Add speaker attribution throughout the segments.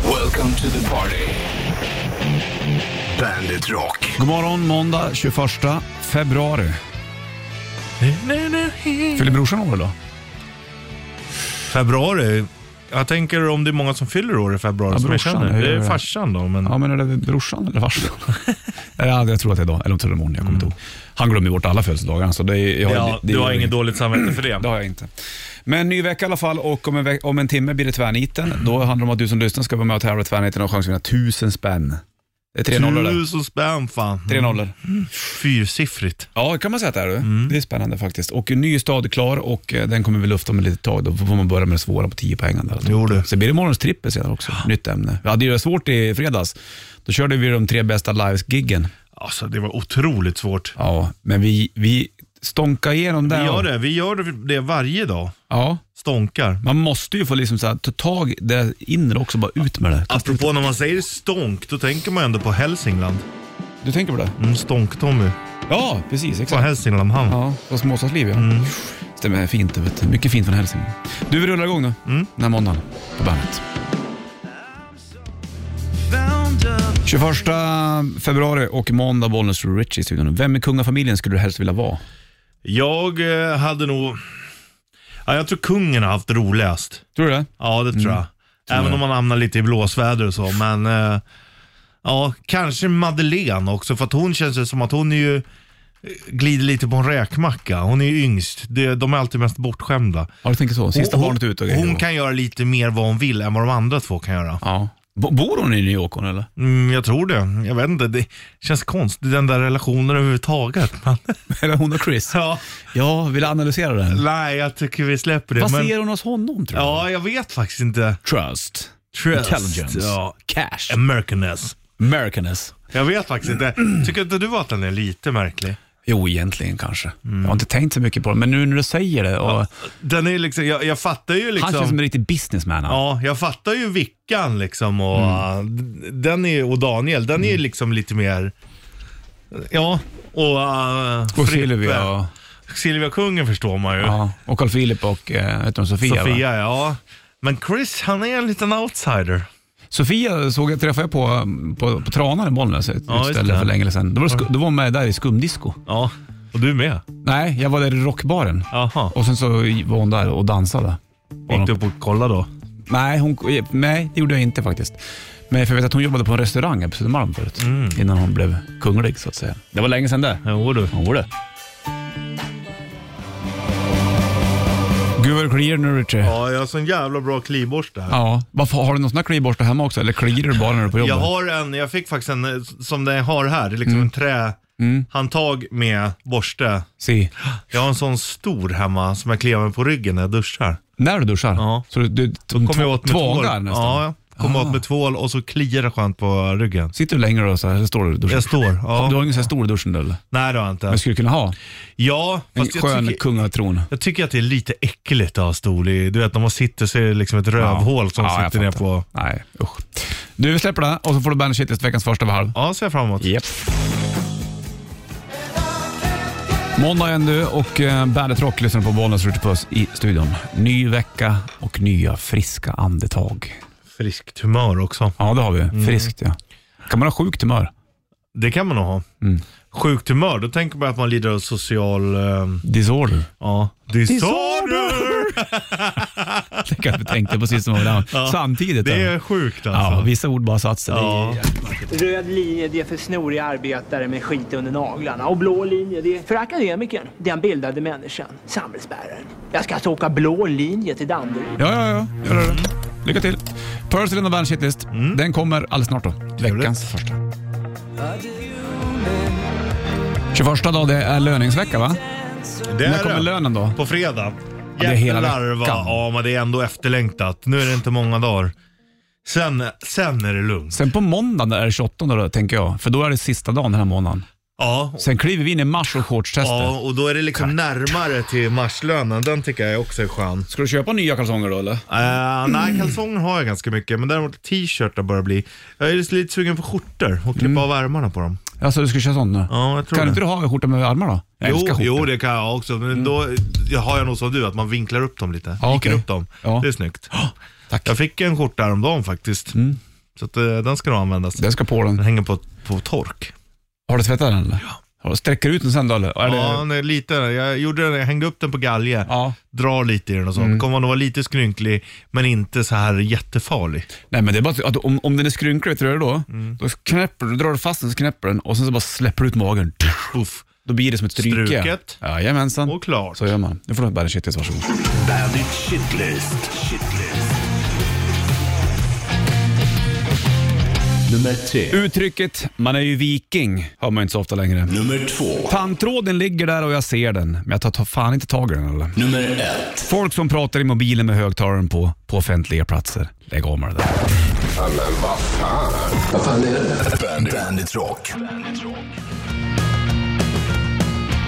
Speaker 1: Welcome to the party. Bandit Rock.
Speaker 2: God morgon, måndag 21 februari. Fyller brorsan år idag?
Speaker 3: Februari. Jag tänker om det är många som fyller år i februari
Speaker 2: Ja,
Speaker 3: som jag
Speaker 2: brorsan,
Speaker 3: känner.
Speaker 2: hur
Speaker 3: Det
Speaker 2: gör
Speaker 3: är
Speaker 2: det?
Speaker 3: farsan då, men...
Speaker 2: Ja, men är det brorsan eller farsan? ja, jag tror att det är idag, eller om det är imorgon. Jag kommer inte ihåg. Han glömmer ju bort alla födelsedagar. Så det, är- jag,
Speaker 3: Mm. Ja,
Speaker 2: det-
Speaker 3: du har inget dåligt samvete för
Speaker 2: Det
Speaker 3: det.
Speaker 2: har jag inte. Men ny vecka i alla fall och om en, veck- om en timme blir det tvärniten. Då handlar det om att du som lyssnar ska vara med och tävla i tvärniten och ha chans att vinna tusen spänn. Det är tre nollor där.
Speaker 3: Tusen spänn fan.
Speaker 2: Tre nollor.
Speaker 3: Fyrsiffrigt.
Speaker 2: Ja, det kan man säga att det är. du.
Speaker 3: Mm.
Speaker 2: Det är spännande faktiskt. Och en ny stad klar och eh, den kommer vi lufta om ett litet tag. Då får man börja med det svåra på 10 poäng. där.
Speaker 3: Jo, du.
Speaker 2: Så blir det morgons trippel sedan också. Nytt ämne. Vi hade ju det svårt i fredags. Då körde vi de tre bästa live-giggen.
Speaker 3: Alltså det var otroligt svårt.
Speaker 2: Ja, men vi, vi stånkade igenom
Speaker 3: Vi
Speaker 2: där.
Speaker 3: gör det, vi gör det varje dag.
Speaker 2: Ja,
Speaker 3: Stånkar.
Speaker 2: man måste ju få liksom så här, ta tag i det inre också, bara ut med det.
Speaker 3: Apropå när man säger stånk, då tänker man ändå på Hälsingland.
Speaker 2: Du tänker på det?
Speaker 3: Mm, Stånk-Tommy.
Speaker 2: Ja, precis.
Speaker 3: På
Speaker 2: Exakt.
Speaker 3: Hälsingland hamn.
Speaker 2: Ja, det var småstadsliv ja.
Speaker 3: Mm.
Speaker 2: Stämmer fint. Vet du. Mycket fint från Hälsingland. Du, vi rullar igång då.
Speaker 3: Mm.
Speaker 2: Den här måndagen på bandet. 21 februari och måndag Bollnäs Rich i studion. Vem i kungafamiljen skulle du helst vilja vara?
Speaker 3: Jag eh, hade nog... Ja, jag tror kungen har haft det roligast.
Speaker 2: Tror du det?
Speaker 3: Ja, det tror
Speaker 2: Mm.
Speaker 3: jag. Även om man hamnar lite i blåsväder och så. Men eh, ja, kanske Madeleine också. För att hon känns ju som att hon är ju eh, glider lite på en räkmacka. Hon är ju yngst. Det- De är alltid mest bortskämda.
Speaker 2: Ja, du tänker så. Sista
Speaker 3: Hon-
Speaker 2: barnet ut och
Speaker 3: hon,
Speaker 2: grejer.
Speaker 3: hon kan göra lite mer vad hon vill än vad de andra två kan göra.
Speaker 2: Ja. Bo- Bor hon i New York hon, eller?
Speaker 3: Mm, jag tror det. Jag vet inte. Det känns konstigt, den där relationen överhuvudtaget. Men,
Speaker 2: Eller hon och Chris?
Speaker 3: ja,
Speaker 2: Ja, vill analysera den.
Speaker 3: nej, jag tycker vi släpper det.
Speaker 2: Vad
Speaker 3: men,
Speaker 2: ser hon hos honom tror du?
Speaker 3: ja, jag vet faktiskt inte.
Speaker 2: Trust.
Speaker 3: Trust.
Speaker 2: Intelligence.
Speaker 3: Ja.
Speaker 2: Cash.
Speaker 3: Americanness.
Speaker 2: Americanness.
Speaker 3: Jag vet faktiskt inte. Tycker inte du att den är lite märklig?
Speaker 2: Jo, egentligen kanske.
Speaker 3: Mm.
Speaker 2: Jag har inte tänkt så mycket på det, men nu när du säger det. Och
Speaker 3: Den är liksom, jag, jag fattar ju
Speaker 2: Han
Speaker 3: liksom...
Speaker 2: känns som en riktig businessman. han.
Speaker 3: Ja, jag fattar ju Vickan liksom och,
Speaker 2: Mm.
Speaker 3: äh, den är, och Daniel. Den är ju liksom lite mer... Ja, och... Uh,
Speaker 2: Och Silvia och,
Speaker 3: Silvia Kungen förstår man ju.
Speaker 2: ja, och Carl Philip och eh, heter hon Sofia. Sofia. Va?
Speaker 3: Sofia, ja. Men Chris, han är en liten outsider.
Speaker 2: Sofia såg jag, träffade jag på, på, på Tranan i Bollnäs, ett
Speaker 3: Ja, just
Speaker 2: ställe
Speaker 3: det.
Speaker 2: för länge sedan. Då var, det sku, då var hon med där i skumdisco.
Speaker 3: Ja, och du med.
Speaker 2: Nej, jag var där i rockbaren.
Speaker 3: Jaha.
Speaker 2: Och sen så var hon där och dansade.
Speaker 3: Gick du upp och kollade då?
Speaker 2: Nej, hon, nej, det gjorde jag inte faktiskt. Men för jag vet att hon jobbade på en restaurang här på Södermalm förut. Innan hon blev kunglig så att säga. Det var länge sedan det.
Speaker 3: Mm. Jo du.
Speaker 2: Jo det. Gud vad det kliar nu Richie. Ja.
Speaker 3: Ja, jag har sån jävla bra kliborste här.
Speaker 2: Varför, har du någon sån här kliborste hemma också eller kliar du bara Mm. när du är på jobbet?
Speaker 3: Jag har en, jag fick faktiskt en eh, som den jag har här. Det är liksom en trähandtag med borste.
Speaker 2: Si.
Speaker 3: Jag har en sån stor hemma som jag kliar mig på ryggen när jag duschar.
Speaker 2: När du duschar?
Speaker 3: Ja.
Speaker 2: Så du, du Då
Speaker 3: Kommer jag åt med tvål.
Speaker 2: tvagar nästan? Ah.
Speaker 3: Ja, jag kommer åt med tvål och så kliar det skönt på ryggen.
Speaker 2: Sitter du längre då så här, eller står du och duschar?
Speaker 3: Jag står. Ja.
Speaker 2: Du har ingen sån här stor dusch nu eller?
Speaker 3: Nej det har jag
Speaker 2: Men
Speaker 3: inte.
Speaker 2: skulle du kunna ha?
Speaker 3: Ja,
Speaker 2: En
Speaker 3: fast jag
Speaker 2: skön
Speaker 3: tycker,
Speaker 2: kungatron.
Speaker 3: jag tycker att det är lite äckligt att ha stol i. Du vet när man sitter så är det liksom ett rövhål som
Speaker 2: Ja, jag
Speaker 3: sitter ner
Speaker 2: fattar.
Speaker 3: på.
Speaker 2: Nej, usch. Du, vi släpper det här och så får du Bandit Shitlist veckans första över halv.
Speaker 3: Ja, ser jag fram emot.
Speaker 2: Yep. Måndag igen du och eh, Bandet Rock lyssnar på Bollnäs Ute Puss i studion. Ny vecka och nya friska andetag.
Speaker 3: Friskt humör också.
Speaker 2: Ja, det har vi. Friskt ja. Kan man ha sjukt humör?
Speaker 3: Det kan man nog ha.
Speaker 2: Mm.
Speaker 3: Sjukt humör, då tänker man att man lider av social... Eh,
Speaker 2: Disorder.
Speaker 3: ja. Disorder!
Speaker 2: Det kanske vi tänkte precis som varandra. Samtidigt.
Speaker 3: Det
Speaker 2: ja.
Speaker 3: är sjukt alltså.
Speaker 2: Ja, vissa ord bara satt sig.
Speaker 3: Ja.
Speaker 4: Röd linje det är för snoriga arbetare med skit under naglarna och blå linje det är för akademikern, den bildade människan, samhällsbäraren. Jag ska alltså åka blå linje till Danderyd.
Speaker 2: Ja, ja, ja. Gör det. Lycka till. Percy Lind och Bandit Shitlist. Den kommer alldeles snart då. Veckans första. 21 dag, det är löningsvecka va?
Speaker 3: Det
Speaker 2: När kommer
Speaker 3: det.
Speaker 2: lönen då?
Speaker 3: På fredag.
Speaker 2: det är hela
Speaker 3: Jävlar vad,
Speaker 2: veckan.
Speaker 3: ja men det är ändå efterlängtat. Nu är det inte många dagar. Sen, sen är det lugnt.
Speaker 2: Sen på måndag är det 28 då, tänker jag. För då är det sista dagen den här månaden.
Speaker 3: Ja,
Speaker 2: Sen kliver vi in i mars och shortstester.
Speaker 3: ja och då är det liksom närmare till marslönen. Den tycker jag också är skön.
Speaker 2: Ska du köpa nya kalsonger då eller?
Speaker 3: Eh,
Speaker 2: Mm.
Speaker 3: nej, kalsonger har jag ganska mycket, men däremot t-shirtar börjar bli. Jag är lite sugen på skjortor och klippa av ärmarna på dem.
Speaker 2: Alltså du ska köra sånt nu?
Speaker 3: Ja, jag tror
Speaker 2: Mm. kan
Speaker 3: det.
Speaker 2: inte du ha skjorta med armar då? Jag
Speaker 3: Jo,
Speaker 2: älskar skjortor. Mm.
Speaker 3: jo, det kan jag också, men då har jag nog som du, att man vinklar upp dem lite.
Speaker 2: Ja,
Speaker 3: Viker
Speaker 2: okej.
Speaker 3: upp dem.
Speaker 2: Ja.
Speaker 3: Det är snyggt.
Speaker 2: tack. Mm.
Speaker 3: Jag fick en skjorta häromdagen faktiskt. Så att, eh, den ska då användas.
Speaker 2: Den ska på
Speaker 3: Den
Speaker 2: den.
Speaker 3: hänger på, på tork.
Speaker 2: Har du tvättat den eller? Har du sträcker ut den sen då eller? Eller-
Speaker 3: Ja, nej, lite. Jag, gjorde, det- jag hängde upp den på galge,
Speaker 2: ja. Mm.
Speaker 3: drar lite i den och sånt. Kommer nog vara lite skrynklig, men inte så här jättefarlig.
Speaker 2: Nej men det är bara att om, om den är skrynklig, vet du vad du gör då?
Speaker 3: Mm.
Speaker 2: Då knäpper du, drar du fast den så knäpper den och sen så bara släpper du ut magen.
Speaker 3: Uff.
Speaker 2: Då blir det som ett stryke.
Speaker 3: Struket.
Speaker 2: Jajamensan.
Speaker 3: Och klart.
Speaker 2: Mm. Så gör man. Nu får du bara en shitlist, varsågod.
Speaker 1: Bandit Shitlist. Shitlist. Nummer tre.
Speaker 2: Uttrycket “man är ju viking” hör man ju inte så ofta längre.
Speaker 1: Nummer två.
Speaker 2: Tandtråden ligger där och jag ser den, men jag tar ta- fan inte tag i den eller?
Speaker 1: Nummer ett.
Speaker 2: Folk som pratar i mobilen med högtalaren på, på offentliga platser. Lägg av med det där.
Speaker 1: Bandit, Bandit Rock. Bandit Rock.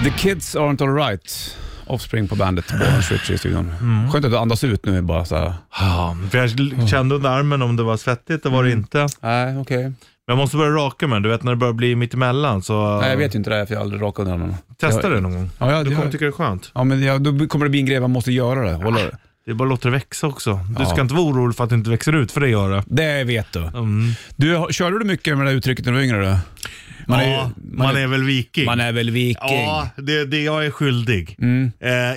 Speaker 2: The kids aren't alright. Offspring på bandet, Bollens Ritchie i studion. Skönt att du andas ut nu bara så här.
Speaker 3: Ja, för jag kände under armen om det var svettigt, det var
Speaker 2: Mm.
Speaker 3: det inte. Men
Speaker 2: Nej, okej. Okay.
Speaker 3: jag måste börja raka mig, du vet när det börjar bli mittemellan så
Speaker 2: Nej, jag vet ju inte det här för jag har aldrig rakat under
Speaker 3: testa det någon gång.
Speaker 2: Ja, jag,
Speaker 3: Du kommer
Speaker 2: jag,
Speaker 3: tycka det är skönt.
Speaker 2: ja, men jag, då kommer det bli en grej man måste göra det. Hålla det.
Speaker 3: Det är bara att låta det växa också. Du
Speaker 2: Ja.
Speaker 3: ska inte vara orolig för att det inte växer ut, för det gör det.
Speaker 2: Det vet du.
Speaker 3: Mm.
Speaker 2: du. har- Körde du mycket med det där uttrycket när du var yngre? Då? Man,
Speaker 3: ja,
Speaker 2: är, ju-
Speaker 3: man, är, väl viking.
Speaker 2: man är väl viking. Mm.
Speaker 3: Ja, det, det jag är skyldig.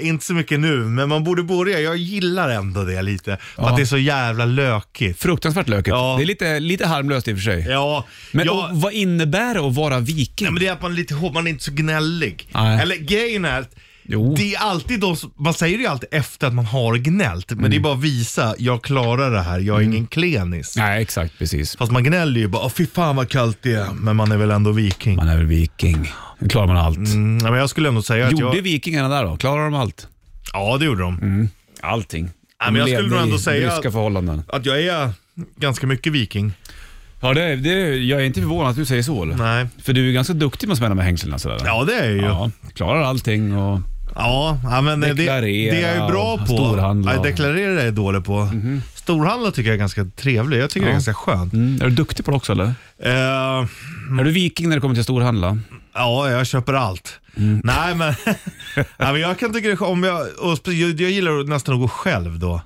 Speaker 3: Eh, inte så mycket nu, men man borde börja. Jag gillar ändå det lite. För att det är så jävla lökigt.
Speaker 2: Fruktansvärt löket.
Speaker 3: Ja.
Speaker 2: Det är lite, lite harmlöst i och för sig.
Speaker 3: Ja,
Speaker 2: Men
Speaker 3: jag,
Speaker 2: och, vad innebär det att vara viking?
Speaker 3: nej, men det är att man är lite hård, man är inte så gnällig.
Speaker 2: Nej.
Speaker 3: Eller grejen är att
Speaker 2: Jo.
Speaker 3: det är alltid de som, man säger det ju alltid efter att man har gnällt, men det
Speaker 2: Mm.
Speaker 3: är bara att visa, jag klarar det här, jag är ingen klenis.
Speaker 2: Nej, exakt precis.
Speaker 3: Fast man gnäller ju bara, "Åh, fy fan vad kallt det är, men man är väl ändå viking.
Speaker 2: Man är väl viking. Nu klarar man allt.
Speaker 3: Mm, ja, men jag skulle ändå säga att
Speaker 2: Gjorde
Speaker 3: jag...
Speaker 2: vikingarna där då? Klarade de allt?
Speaker 3: Ja, det gjorde de.
Speaker 2: Allting.
Speaker 3: men jag skulle nog ändå säga
Speaker 2: Ryska
Speaker 3: att-
Speaker 2: förhållanden.
Speaker 3: Att jag är ganska mycket viking.
Speaker 2: Ja, det, det, jag är inte förvånad att du säger så. Eller?
Speaker 3: Nej.
Speaker 2: För du är ganska duktig med att smälla med hängslena sådär.
Speaker 3: Ja, det är jag ju. Ja,
Speaker 2: Ja, klarar allting och...
Speaker 3: ja, men det, det
Speaker 2: Deklarera
Speaker 3: är jag ju bra
Speaker 2: och
Speaker 3: på.
Speaker 2: storhandla.
Speaker 3: Nej, deklarera är jag dålig på. Storhandla tycker jag är ganska trevlig. Jag tycker det är ganska skönt.
Speaker 2: Mm, är du duktig på det också eller?
Speaker 3: Eh,
Speaker 2: Är du viking när det kommer till
Speaker 3: Mm.
Speaker 2: storhandla?
Speaker 3: ja, jag köper allt. Nej, men, nej, men jag kan tycka det är skönt om jag, och spe- jag, jag gillar nästan att gå själv då.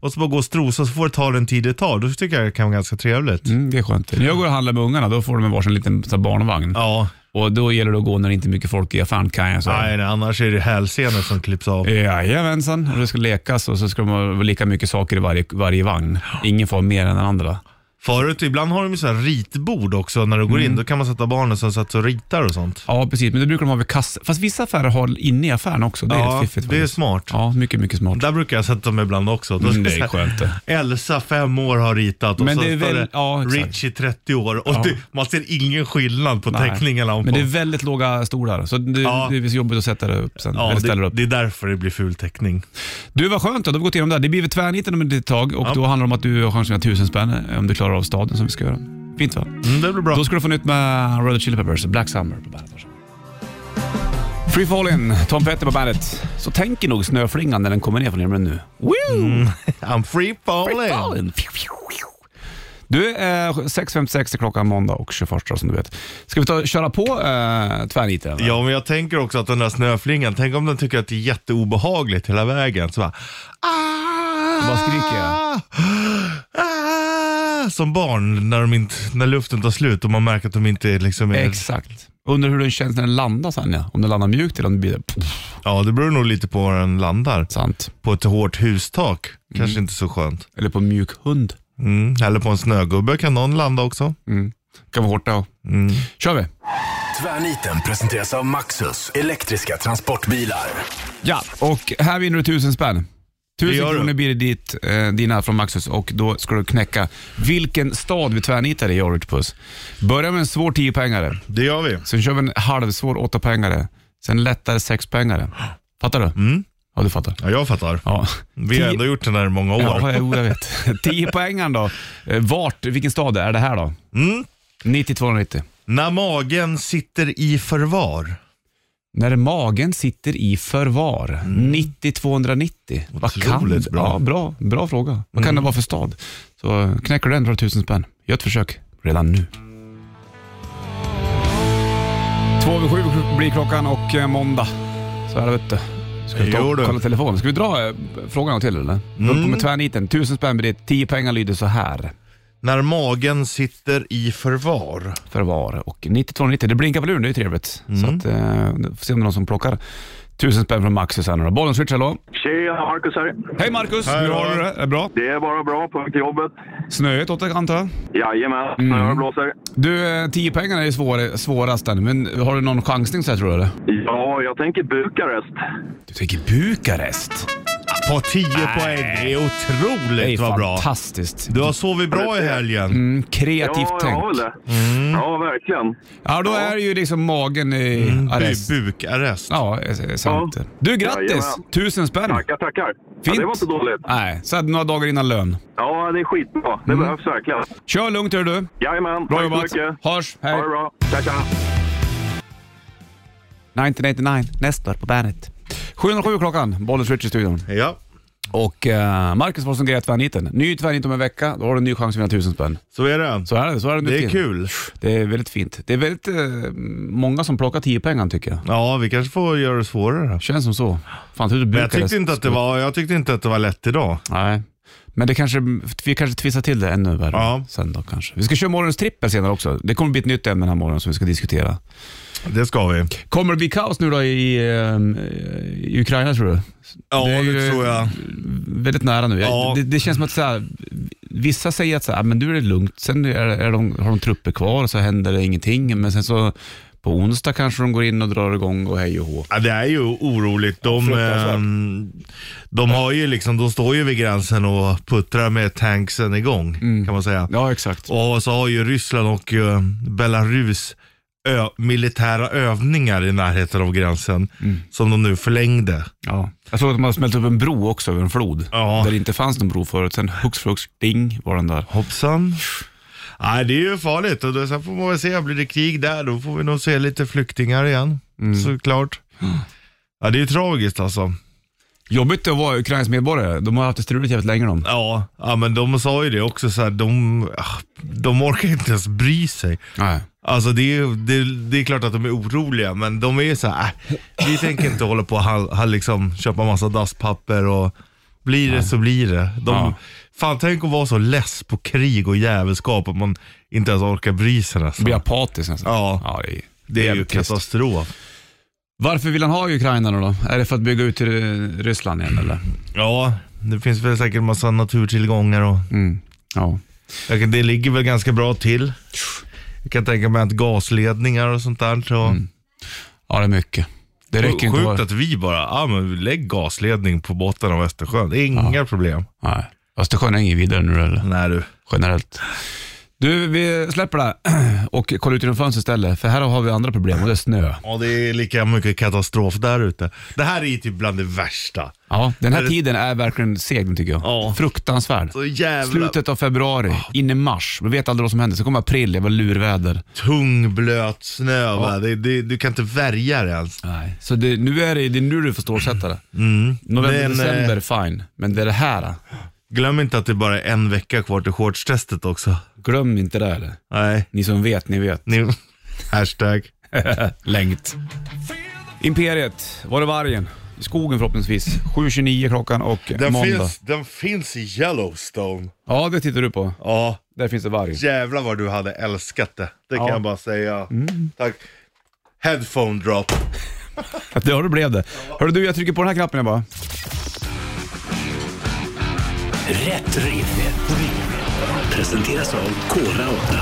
Speaker 3: Och så bara gå och strosa så får det ta den tid det tar. Då tycker jag det kan vara ganska trevligt.
Speaker 2: Mm, det är skönt. När jag går och handlar med ungarna då får de en varsin liten så här, barnvagn.
Speaker 3: Ja,
Speaker 2: Och då gäller det att gå när det inte är mycket folk i affären kan jag säga.
Speaker 3: nej, nej, annars är det hälsenor som klipps av.
Speaker 2: Jajamensan, och det ska lekas och så ska de ha lika mycket saker i varje, varje vagn. Ingen får mer än den andra.
Speaker 3: Förut, ibland har de ju så här ritbord också när du går
Speaker 2: Mm.
Speaker 3: in. Då kan man sätta barnen som satt och ritar och sånt.
Speaker 2: Ja, precis. Men det brukar de ha vid kassa. Fast vissa affärer har inne i affären också. Det är rätt
Speaker 3: Ja,
Speaker 2: fiffigt.
Speaker 3: det är
Speaker 2: faktiskt.
Speaker 3: smart.
Speaker 2: Ja, mycket, mycket smart.
Speaker 3: Där brukar jag sätta dem ibland också. Då
Speaker 2: Mm, det
Speaker 3: ska
Speaker 2: är
Speaker 3: jag säga,
Speaker 2: skönt det.
Speaker 3: Elsa fem år har ritat och
Speaker 2: Men
Speaker 3: så
Speaker 2: det är
Speaker 3: står
Speaker 2: väl-
Speaker 3: det
Speaker 2: ja, exakt.
Speaker 3: Richie 30 år. Och det, man ser ingen skillnad på
Speaker 2: Nej.
Speaker 3: teckningarna.
Speaker 2: Men det är väldigt låga stolar, så det,
Speaker 3: Ja.
Speaker 2: det är så jobbigt att sätta det upp sen.
Speaker 3: Ja,
Speaker 2: eller ställa
Speaker 3: det,
Speaker 2: upp.
Speaker 3: det är därför det blir ful teckning.
Speaker 2: Du, vad skönt då. Då har vi gått igenom det här. Det blir väl tvärniten om ett litet tag och då handlar det om att du har chansen att tusen spänn eh, om du klarar av staden som vi ska göra. Fint va?
Speaker 3: Mm, det blir bra.
Speaker 2: Då ska du få nytt med Red Hot Chili Peppers, Black Summer på bandet. varsågod. Free Fallin', Tom Petty på bandet. Så tänker nog snöflingan när den kommer ner från himlen nu. Woo!
Speaker 3: I'm free falling.
Speaker 2: Free Fallin'. Du, eh, 6.56 är klockan måndag och 21 som du vet. Ska vi ta köra på eh, tvärniten? eller?
Speaker 3: Ja, men jag tänker också att den där snöflingan, tänk om den tycker att det är jätteobehagligt hela vägen. Så bara, ah,
Speaker 2: Vad skriker jag?
Speaker 3: Ah, som barn när, de inte, när luften tar slut och man märker att de inte liksom är...
Speaker 2: Exakt. Undrar hur den känns när den landar sen ja. Om den landar mjukt eller om det blir... Pff,
Speaker 3: Ja, det beror nog lite på var den landar.
Speaker 2: sant.
Speaker 3: På ett hårt hustak,
Speaker 2: Mm.
Speaker 3: kanske inte så skönt.
Speaker 2: Eller på mjuk hund.
Speaker 3: Mm. Eller på en snögubbe kan någon landa också.
Speaker 2: Kan vara hårt det också.
Speaker 3: Mm.
Speaker 2: Kör vi.
Speaker 1: Tvärniten presenteras av Maxus elektriska transportbilar.
Speaker 2: Ja, och här vinner du tusen spänn.
Speaker 3: Det
Speaker 2: Tusen
Speaker 3: gör du.
Speaker 2: kronor blir det ditt, eh, dina från Maxus och då ska du knäcka vilken stad vi tvärnitar i, gör du puss. Börja med en svår 10-poängare,
Speaker 3: Det gör vi.
Speaker 2: sen kör vi en halvsvår 8-poängare, sen lättare 6-poängare. Fattar du? Mm. Ja, du fattar.
Speaker 3: Ja, jag fattar.
Speaker 2: Ja.
Speaker 3: Vi har ändå gjort den här i många år.
Speaker 2: Ja, jo, jag vet. 10 poängen då. Eh, Vart, vilken stad är det här då?
Speaker 3: Mm.
Speaker 2: 90-290.
Speaker 3: När magen sitter i förvar.
Speaker 2: När magen sitter i förvar. 90-290. Vad kan
Speaker 3: Mm. Otroligt bra. Mm.
Speaker 2: Ja, bra, bra fråga. Vad kan det vara för stad? Så eh, knäcker du den drar du tusen spänn. Gör ett försök redan nu. Två över sju blir klockan och eh, måndag. Så är det vet du. Ska vi ta
Speaker 3: Jo
Speaker 2: och
Speaker 3: du. Mm.
Speaker 2: kolla telefonen? Ska vi dra eh, frågan en gång till eller? Vi håller på med tvärniten. Tusen spänn blir det. Tio pengar lyder så här.
Speaker 3: När magen sitter i förvar.
Speaker 2: förvar. Och 9290, det blinkar väl ur, det är ju trevligt. Så att, eh, får se om det är någon som plockar tusen spänn från Maxi sen. då. Bollen switch, hallå.
Speaker 5: Tjena, Marcus här.
Speaker 2: Hej Marcus,
Speaker 3: Hej,
Speaker 2: hur har
Speaker 3: då.
Speaker 2: du det? Är det bra?
Speaker 5: Det är bara bra, på väg till jobbet.
Speaker 2: Snöigt åt dig antar jag?
Speaker 5: Jajamän,
Speaker 2: Mm.
Speaker 5: snöar och blåser.
Speaker 2: Du, eh, 10-pengarna är ju svår, svårast den, men har du någon chansning så här tror du eller?
Speaker 5: Ja, jag tänker Bukarest.
Speaker 2: Du tänker Bukarest?
Speaker 3: På 10 poäng. Det är
Speaker 2: Det är
Speaker 3: otroligt
Speaker 2: ju
Speaker 3: vad bra.
Speaker 2: fantastiskt.
Speaker 3: Du har sovit bra i helgen.
Speaker 2: Mm, kreativt
Speaker 5: Ja, jag
Speaker 2: tänkt.
Speaker 5: har väl det.
Speaker 2: Mm.
Speaker 5: Ja, verkligen.
Speaker 2: Ja, då är ju liksom magen i arrest.
Speaker 3: Mm. Bu- Bukarrest.
Speaker 2: Ja, är- är sant.
Speaker 5: Ja.
Speaker 2: Du, grattis!
Speaker 5: Jajamän.
Speaker 2: Tusen spänn!
Speaker 5: Tackar, tackar. Ja,
Speaker 2: Fint.
Speaker 5: det var inte dåligt.
Speaker 2: Nej, så här några dagar innan lön.
Speaker 5: Ja, det är skitbra. Det behövs verkligen.
Speaker 2: Kör lugnt hör du.
Speaker 5: Jajamän,
Speaker 2: Mm. Bra
Speaker 5: tack
Speaker 2: jobbat.
Speaker 5: så mycket.
Speaker 2: Hörs, hej.
Speaker 5: Ha det bra. Tja, tja.
Speaker 2: 1999, nästa år på bandet. 707 klockan, Bollens Rich i studion.
Speaker 3: Ja.
Speaker 2: Och eh, Marcus var som grej tvärniten. Ny tvärnit om en vecka, då har du en ny chans att vinna tusen spänn.
Speaker 3: Så är det.
Speaker 2: Så är det, så är det nu
Speaker 3: Det är
Speaker 2: till.
Speaker 3: kul.
Speaker 2: Det är väldigt fint. Det är väldigt eh, många som plockar 10 pengar tycker jag.
Speaker 3: Ja, vi kanske får göra det svårare.
Speaker 2: Känns som så. Fan, hur
Speaker 3: Men jag tyckte, inte att det var, jag tyckte inte att det var lätt idag.
Speaker 2: Nej. Men det kanske, vi kanske tvistar till det ännu värre
Speaker 3: Ja.
Speaker 2: sen då kanske. Vi ska köra morgonens trippel senare också. Det kommer bli ett nytt ämne den här morgonen som vi ska diskutera.
Speaker 3: Det ska vi.
Speaker 2: Kommer det bli kaos nu då i, ehm, i Ukraina tror du?
Speaker 3: Ja,
Speaker 2: Det
Speaker 3: det,
Speaker 2: är ju-
Speaker 3: tror jag.
Speaker 2: väldigt nära nu. Jag-
Speaker 3: Ja.
Speaker 2: Det, det känns som att så här, vissa säger att så här, "Ah, men nu är det lugnt, sen är, är de, har de trupper kvar och så händer det ingenting. Men sen så på onsdag kanske de går in och drar igång och hej och hå.
Speaker 3: Ja, det är ju oroligt. De,
Speaker 2: fruktansvärt.
Speaker 3: ehm, de, har ju liksom, de står ju vid gränsen och puttrar med tanksen igång,
Speaker 2: Mm.
Speaker 3: kan man säga.
Speaker 2: Ja, exakt.
Speaker 3: Och så har ju Ryssland och eh, Belarus ö- militära övningar i närheten av gränsen som de nu förlängde.
Speaker 2: Ja. Jag såg att de har smält upp en bro också över en flod.
Speaker 3: Ja.
Speaker 2: Där det inte fanns någon bro förut. Sen hux flux, ding var den där.
Speaker 3: Hoppsan. Nej, det är ju farligt. Och då, sen får man väl se, blir det krig där då får vi nog se lite flyktingar igen. Såklart. Ja, det är ju tragiskt alltså.
Speaker 2: Jobbigt att vara Ukrains medborgare. De har haft det struligt jävligt länge de.
Speaker 3: Ja, ja men de sa ju det också så här, de, ah, de orkar inte ens bry sig.
Speaker 2: Nej.
Speaker 3: Alltså det är, det, det är klart att de är oroliga, men de är ju så här, äh, vi tänker inte hålla på och ha, ha, liksom, köpa massa dasspapper och blir det så blir det. De,
Speaker 2: Ja.
Speaker 3: Fan tänk att vara så less på krig och jävelskap att man inte ens orkar bry sig nästan.
Speaker 2: Blir apatisk nästan.
Speaker 3: Ja.
Speaker 2: ja det, är,
Speaker 3: Det är ju
Speaker 2: jävligt trist.
Speaker 3: katastrof.
Speaker 2: Varför vill han ha Ukraina då? Är det för att bygga ut till eh, Ryssland igen eller?
Speaker 3: Ja, det finns väl säkert massa naturtillgångar och
Speaker 2: Mm. Ja.
Speaker 3: jag kan- det ligger väl ganska bra till. Jag kan tänka mig att gasledningar och sånt där. Så.
Speaker 2: Ja, det är mycket. Det räcker inte
Speaker 3: Sjukt
Speaker 2: bara...
Speaker 3: att vi bara, ah, men lägg gasledning på botten av Östersjön. Det är inga problem.
Speaker 2: Nej. Östersjön är inget vidare nu eller?
Speaker 3: Nej du.
Speaker 2: Generellt. Du, vi släpper det här och kollar ut genom fönstret istället. För här har vi andra problem och det är snö.
Speaker 3: Ja, det är lika mycket katastrof där ute. Det här är ju typ bland det värsta.
Speaker 2: Ja, den här
Speaker 3: Är det-
Speaker 2: tiden är verkligen seg den tycker jag.
Speaker 3: Ja.
Speaker 2: Fruktansvärd.
Speaker 3: Så jävla
Speaker 2: Slutet av februari, in i mars. Vi vet aldrig vad som händer. Sen kommer april, det var lurväder.
Speaker 3: tung blöt snö. Va? Det, det, du kan inte värja dig ens.
Speaker 2: Nej. Så det, nu är det, det är nu du får stålsätta det. November,
Speaker 3: Mm. Men, eh,
Speaker 2: december, fine. Men det är det här. då.
Speaker 3: Glöm inte att det bara är en vecka kvar till shortstestet också.
Speaker 2: Glöm inte det. Eller?
Speaker 3: Nej,
Speaker 2: Ni som vet, ni vet.
Speaker 3: ni... Hashtag.
Speaker 2: Längt. Imperiet, var det vargen? I skogen förhoppningsvis. 7.29 klockan och måndag.
Speaker 3: den finns i Yellowstone.
Speaker 2: Ja, det tittar du på.
Speaker 3: Ja,
Speaker 2: Där finns det varg.
Speaker 3: jävlar vad du hade älskat det. Det kan
Speaker 2: Ja. Mm.
Speaker 3: jag bara säga. Tack. Headphone drop.
Speaker 2: Ja, det blev det. Hörru du, jag trycker på den här knappen jag bara.
Speaker 1: Rätt riff. Presenteras av Kora 8.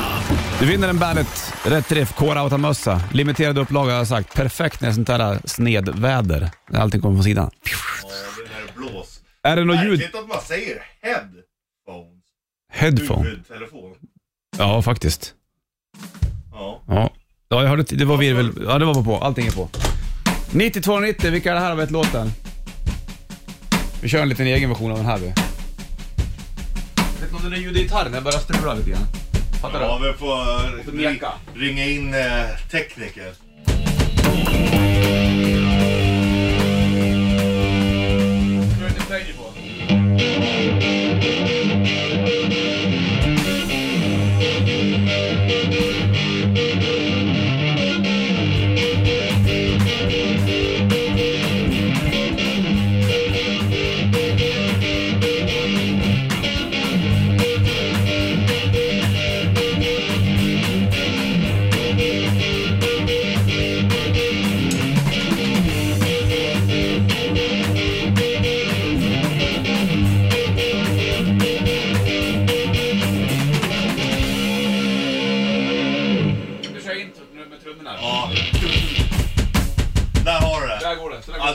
Speaker 2: Du vinner en Bandet Rätt Riff K-Rauta-mössa. Limiterad upplaga har jag sagt. Perfekt när det är sånt där snedväder. När allting kommer från sidan. Är det något ljud?
Speaker 3: att man säger headphones.
Speaker 2: Headphone?
Speaker 3: Huvudtelefon.
Speaker 2: Ja, faktiskt.
Speaker 3: Ja.
Speaker 2: Ja, ja jag hörde t- det var virvel. Ja, det var på. Allting är på. 9290, vilka är det här har vi ett låten? Vi kör en liten egen version av den här vi. Vet ni om den där ljudet i gitarren? Den börjar strula lite grann. Fattar
Speaker 3: Ja, vi får
Speaker 2: ring- meka.
Speaker 3: ringa in eh, tekniker.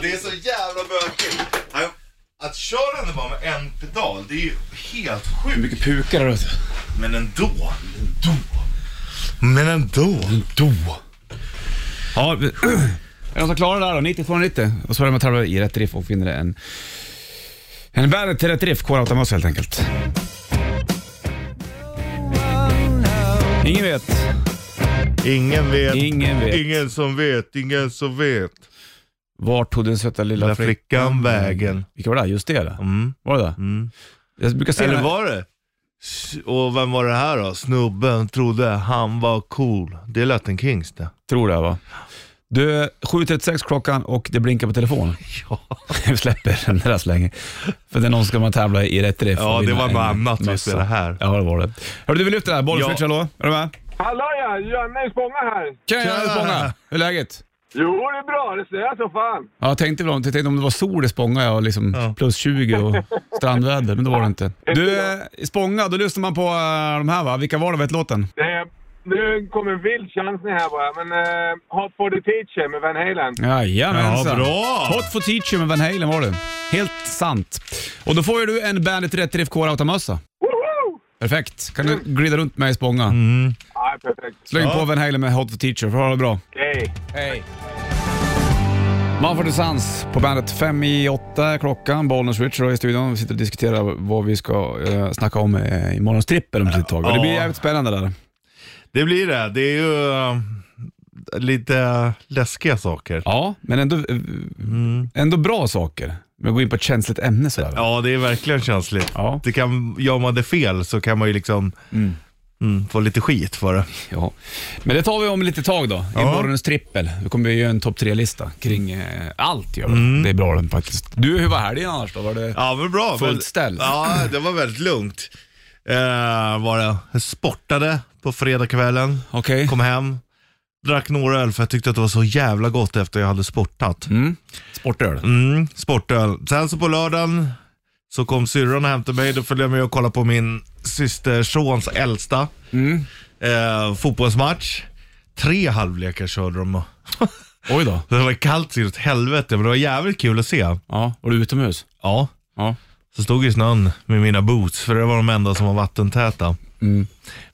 Speaker 3: Det är så jävla bökigt. Han- Att köra den bara med en pedal, det är ju helt
Speaker 2: Hur
Speaker 3: sjukt.
Speaker 2: mycket pukar det är.
Speaker 3: Men ändå. Ändå. Men ändå. Ändå.
Speaker 2: Ja, vi- är det någon som klarar det där då? 90 290. Och så är det med att tävla i rätt riff och finner en, en bandet till rätt riff. Kora Automus helt enkelt. Ingen vet.
Speaker 3: Ingen vet.
Speaker 2: Ingen vet.
Speaker 3: Ingen som vet. Ingen som vet.
Speaker 2: Vart tog den söta lilla,
Speaker 3: Lilla
Speaker 2: flickan?
Speaker 3: flickan vägen.
Speaker 2: Vilka var det? Just det, det.
Speaker 3: Mm.
Speaker 2: Var det det?
Speaker 3: Mm.
Speaker 2: Jag brukar se
Speaker 3: Eller
Speaker 2: den här-
Speaker 3: var det? S- Och vem var det här då? Snubben trodde han var cool. Det är Latin Kings det.
Speaker 2: Tror det va? Du, 7.36 klockan och det blinkar på telefonen.
Speaker 3: Ja.
Speaker 2: Vi släpper den där så länge. För det är någon som ska man tävla i rätt riff.
Speaker 3: Ja,
Speaker 2: och vinna
Speaker 3: det var något
Speaker 2: en
Speaker 3: annat vi
Speaker 2: mössa.
Speaker 3: spelade här.
Speaker 2: Ja, det var det. Hörru du, vi lyfter det här.
Speaker 3: Ja.
Speaker 2: Bollswitch, hallå? Är du med?
Speaker 6: Hallå ja, Janne Spånga här.
Speaker 2: Tjena,
Speaker 3: Tjena.
Speaker 2: Tjena. Spånga! Hur är läget?
Speaker 6: Jo, det är bra. Det snöar så fan.
Speaker 2: Ja, jag tänkte, väl om, jag tänkte om det var sol i Spånga ja, och liksom
Speaker 3: Ja.
Speaker 2: plus 20 och strandväder, men det var det inte. Du, eh, i Spånga, då lyssnar man på eh, de här va? Vilka var det? Vet låten?
Speaker 6: Eh, nu kommer en vild chansning här bara, men eh, Hot for the teacher med Van Halen.
Speaker 2: Jajamensan.
Speaker 3: Ja, bra.
Speaker 2: Hot for teacher med Van Halen var det. Helt sant. Och då får ju du en Bandit Rätt Riff Core Automössa.
Speaker 6: Woho!
Speaker 2: Perfekt. Kan du glida runt med i Spånga?
Speaker 6: Ja, perfekt.
Speaker 2: Släng
Speaker 3: Ja.
Speaker 2: på Van Halen med Hot for teacher, för ha det bra.
Speaker 6: Okej.
Speaker 2: Hej. Manfred och Sons på bandet fem i åtta är klockan. Bollnäs Richard är i studion. Vi sitter och diskuterar vad vi ska eh, snacka om eh, i morgons trippel om ett litet tag. Och det blir
Speaker 3: Ja.
Speaker 2: jävligt spännande där.
Speaker 3: Det blir det. Det är ju eh, lite läskiga saker.
Speaker 2: Ja, men ändå, eh, ändå bra saker. Men gå in på ett känsligt ämne sådär. Ja.
Speaker 3: Mm. Ja, det är verkligen känsligt.
Speaker 2: Ja.
Speaker 3: Det kan, gör man det fel så kan man ju liksom mm, få lite skit för det.
Speaker 2: ja. Men det tar vi om lite tag då, i
Speaker 3: Ja.
Speaker 2: morgons trippel. Då kommer vi göra en topp tre-lista kring eh, allt. Gör vi. Det är bra den faktiskt. Du, hur var helgen annars då? Var det...
Speaker 3: Mm. Ja, men bra.
Speaker 2: Fullt
Speaker 3: Men-
Speaker 2: ställ.
Speaker 3: Ja, det var väldigt lugnt. Eh, var det. Jag sportade på fredagskvällen,
Speaker 2: Okej.
Speaker 3: kom hem, drack några öl för jag tyckte att det var så jävla gott efter jag hade sportat.
Speaker 2: Mm. Sportöl.
Speaker 3: Mm, sportöl. Sen så på lördagen så kom syrran och hämtade mig. Då följde jag med och kollade på min systersons äldsta
Speaker 2: Mm.
Speaker 3: eh, fotbollsmatch. Tre halvlekar körde de.
Speaker 2: Oj då.
Speaker 3: Det var kallt så åt helvete, men det var jävligt kul att se.
Speaker 2: Ja. Var du utomhus?
Speaker 3: Ja,
Speaker 2: Ja.
Speaker 3: så stod jag i snön med mina boots, för det var de enda som var vattentäta.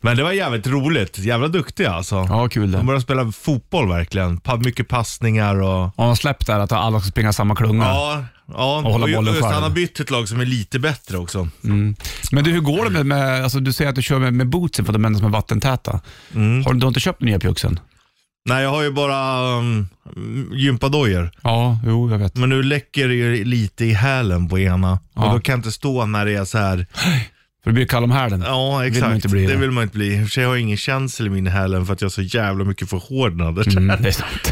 Speaker 3: Men det var jävligt roligt. Jävla duktiga alltså.
Speaker 2: Mm. Ja, kul det.
Speaker 3: De började spela fotboll verkligen. Pa- Mycket passningar och...
Speaker 2: Har han släppt där att alla ska springa samma klunga?
Speaker 3: Ja, ja.
Speaker 2: Och hålla
Speaker 3: ju-
Speaker 2: bollen
Speaker 3: just
Speaker 2: själv.
Speaker 3: Han har bytt till ett lag som är lite bättre också.
Speaker 2: Men du, hur går det med, med alltså, du säger att du kör med, med bootsen för att de enda som är vattentäta.
Speaker 3: Mm.
Speaker 2: Har du, du har inte köpt nya pjuxen?
Speaker 3: Nej, jag har ju bara um, gympadojor.
Speaker 2: Ja, jo, jag vet.
Speaker 3: Men nu läcker det ju lite i hälen på ena.
Speaker 2: Ja.
Speaker 3: Och då kan jag inte stå när det är så här.
Speaker 2: För det blir kall om härden.
Speaker 3: Ja, exakt.
Speaker 2: Vill man inte bli
Speaker 3: det
Speaker 2: det.
Speaker 3: vill man inte bli. I och för sig har jag ingen känsel i min hälen för att jag har så jävla mycket förhårdnader.
Speaker 2: Mm, det är sant.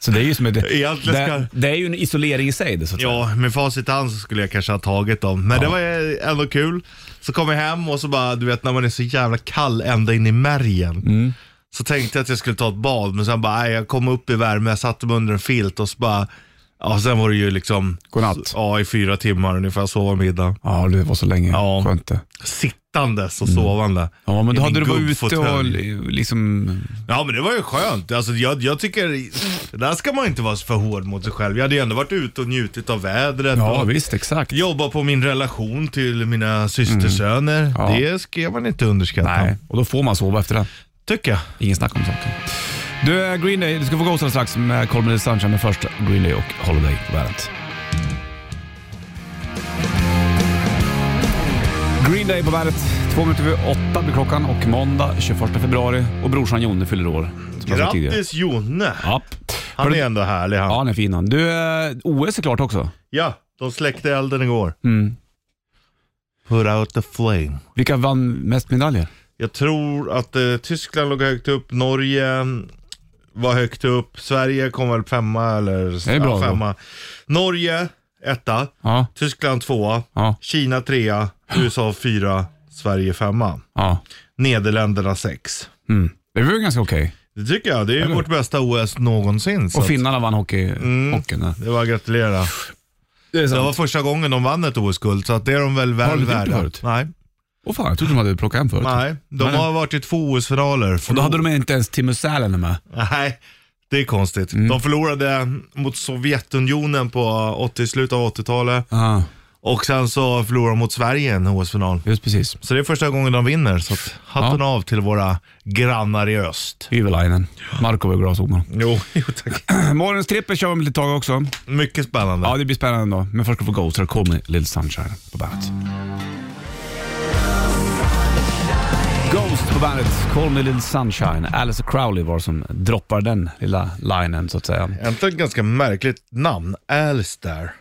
Speaker 2: Så det är ju som ett,
Speaker 3: Egentligen ska-
Speaker 2: det, det är ju en isolering i sig det så att säga.
Speaker 3: Ja, med facit i hand så skulle jag kanske ha tagit dem. Men det var ju ändå kul. Så kom jag hem och så bara, du vet när man är så jävla kall ända in i märgen.
Speaker 2: Mm.
Speaker 3: Så tänkte jag att jag skulle ta ett bad, men sen bara, nej, jag kom upp i värme, jag satte mig under en filt och så bara, ja sen var det ju liksom,
Speaker 2: Godnatt.
Speaker 3: ja i fyra timmar ungefär, sova middag.
Speaker 2: Ja, det var så länge.
Speaker 3: Ja.
Speaker 2: Skönt det.
Speaker 3: Sittandes och sovande.
Speaker 2: Mm. Ja, men
Speaker 3: I
Speaker 2: då hade
Speaker 3: min
Speaker 2: du varit ute och
Speaker 3: gubbfåtölj.
Speaker 2: li- liksom...
Speaker 3: Ja men det var ju skönt. Alltså, jag, jag tycker, där ska man inte vara för hård mot sig själv. Jag hade ju ändå varit ute och njutit av vädret.
Speaker 2: Ja,
Speaker 3: och,
Speaker 2: visst, exakt.
Speaker 3: Jobba på min relation till mina systersöner.
Speaker 2: Mm. Ja.
Speaker 3: Det ska man inte underskatta.
Speaker 2: Nej, och då får man sova efter det.
Speaker 3: Tycker jag.
Speaker 2: Ingen snack om saken. Du, eh, Green Day, du ska få Ghost alldeles strax med Colin and Sunshine, men först Green Day och Holiday på bandet. Green Day på bandet. Två minuter över åtta blir klockan och måndag 21 februari och brorsan Jonne fyller år. som jag sa tidigare.
Speaker 3: Grattis Jonne.
Speaker 2: Ja.
Speaker 3: Han är ändå härlig han.
Speaker 2: ja,
Speaker 3: Ja,
Speaker 2: han är fin han. Du, eh, OS är klart också.
Speaker 3: de släckte elden igår.
Speaker 2: Mm.
Speaker 3: Put out the flame.
Speaker 2: Vilka vann mest medaljer?
Speaker 3: Jag tror att eh, Tyskland låg högt upp, Norge var högt upp, Sverige kom väl femma eller
Speaker 2: Det är bra då.
Speaker 3: femma. Norge etta,
Speaker 2: Ja,
Speaker 3: Tyskland tvåa,
Speaker 2: ja,
Speaker 3: Kina trea, USA fyra, Sverige femma.
Speaker 2: ja.
Speaker 3: Nederländerna sex.
Speaker 2: Mm. Det var ju ganska okej.
Speaker 3: Det tycker jag. Det är ju
Speaker 2: Eller?
Speaker 3: vårt bästa OS någonsin. så
Speaker 2: Och
Speaker 3: att-
Speaker 2: finnarna vann hockey,
Speaker 3: Mm.
Speaker 2: hockeyn. där.
Speaker 3: Det var att gratulera.
Speaker 2: Det är
Speaker 3: Det var
Speaker 2: sant.
Speaker 3: första gången de vann ett OS-guld, så att det är de väl
Speaker 2: Har de
Speaker 3: väl
Speaker 2: inte gjort det
Speaker 3: värda.
Speaker 2: förut?
Speaker 3: Nej,
Speaker 2: Åh fan, jag trodde de hade plockat hem förut.
Speaker 3: nej. De
Speaker 2: Nej.
Speaker 3: har varit i två OS-finaler.
Speaker 2: Och då hade de inte ens Timo Sälänen med.
Speaker 3: Nej, Det är konstigt.
Speaker 2: Mm.
Speaker 3: De förlorade mot Sovjetunionen på 80, slutet av 80-talet.
Speaker 2: Ja,
Speaker 3: Och sen så förlorade de mot Sverige i en OS-final.
Speaker 2: just precis.
Speaker 3: Så det är första gången de vinner. Så att hatten av till våra grannar i öst.
Speaker 2: Hyvälainen. Marko var bra såg man.
Speaker 3: Jo, jo tack.
Speaker 2: Morgonens trippel kör vi om ett litet tag också.
Speaker 3: Mycket spännande.
Speaker 2: Ja, det blir spännande då. Men först ska vi få Ghost. Här kommer Little Sunshine på bandet. Ghost på bandet. Call me Little Sunshine. Alice Crowley var som droppar den lilla linen så att säga.
Speaker 3: Egentligen ett ganska märkligt namn. Alistair.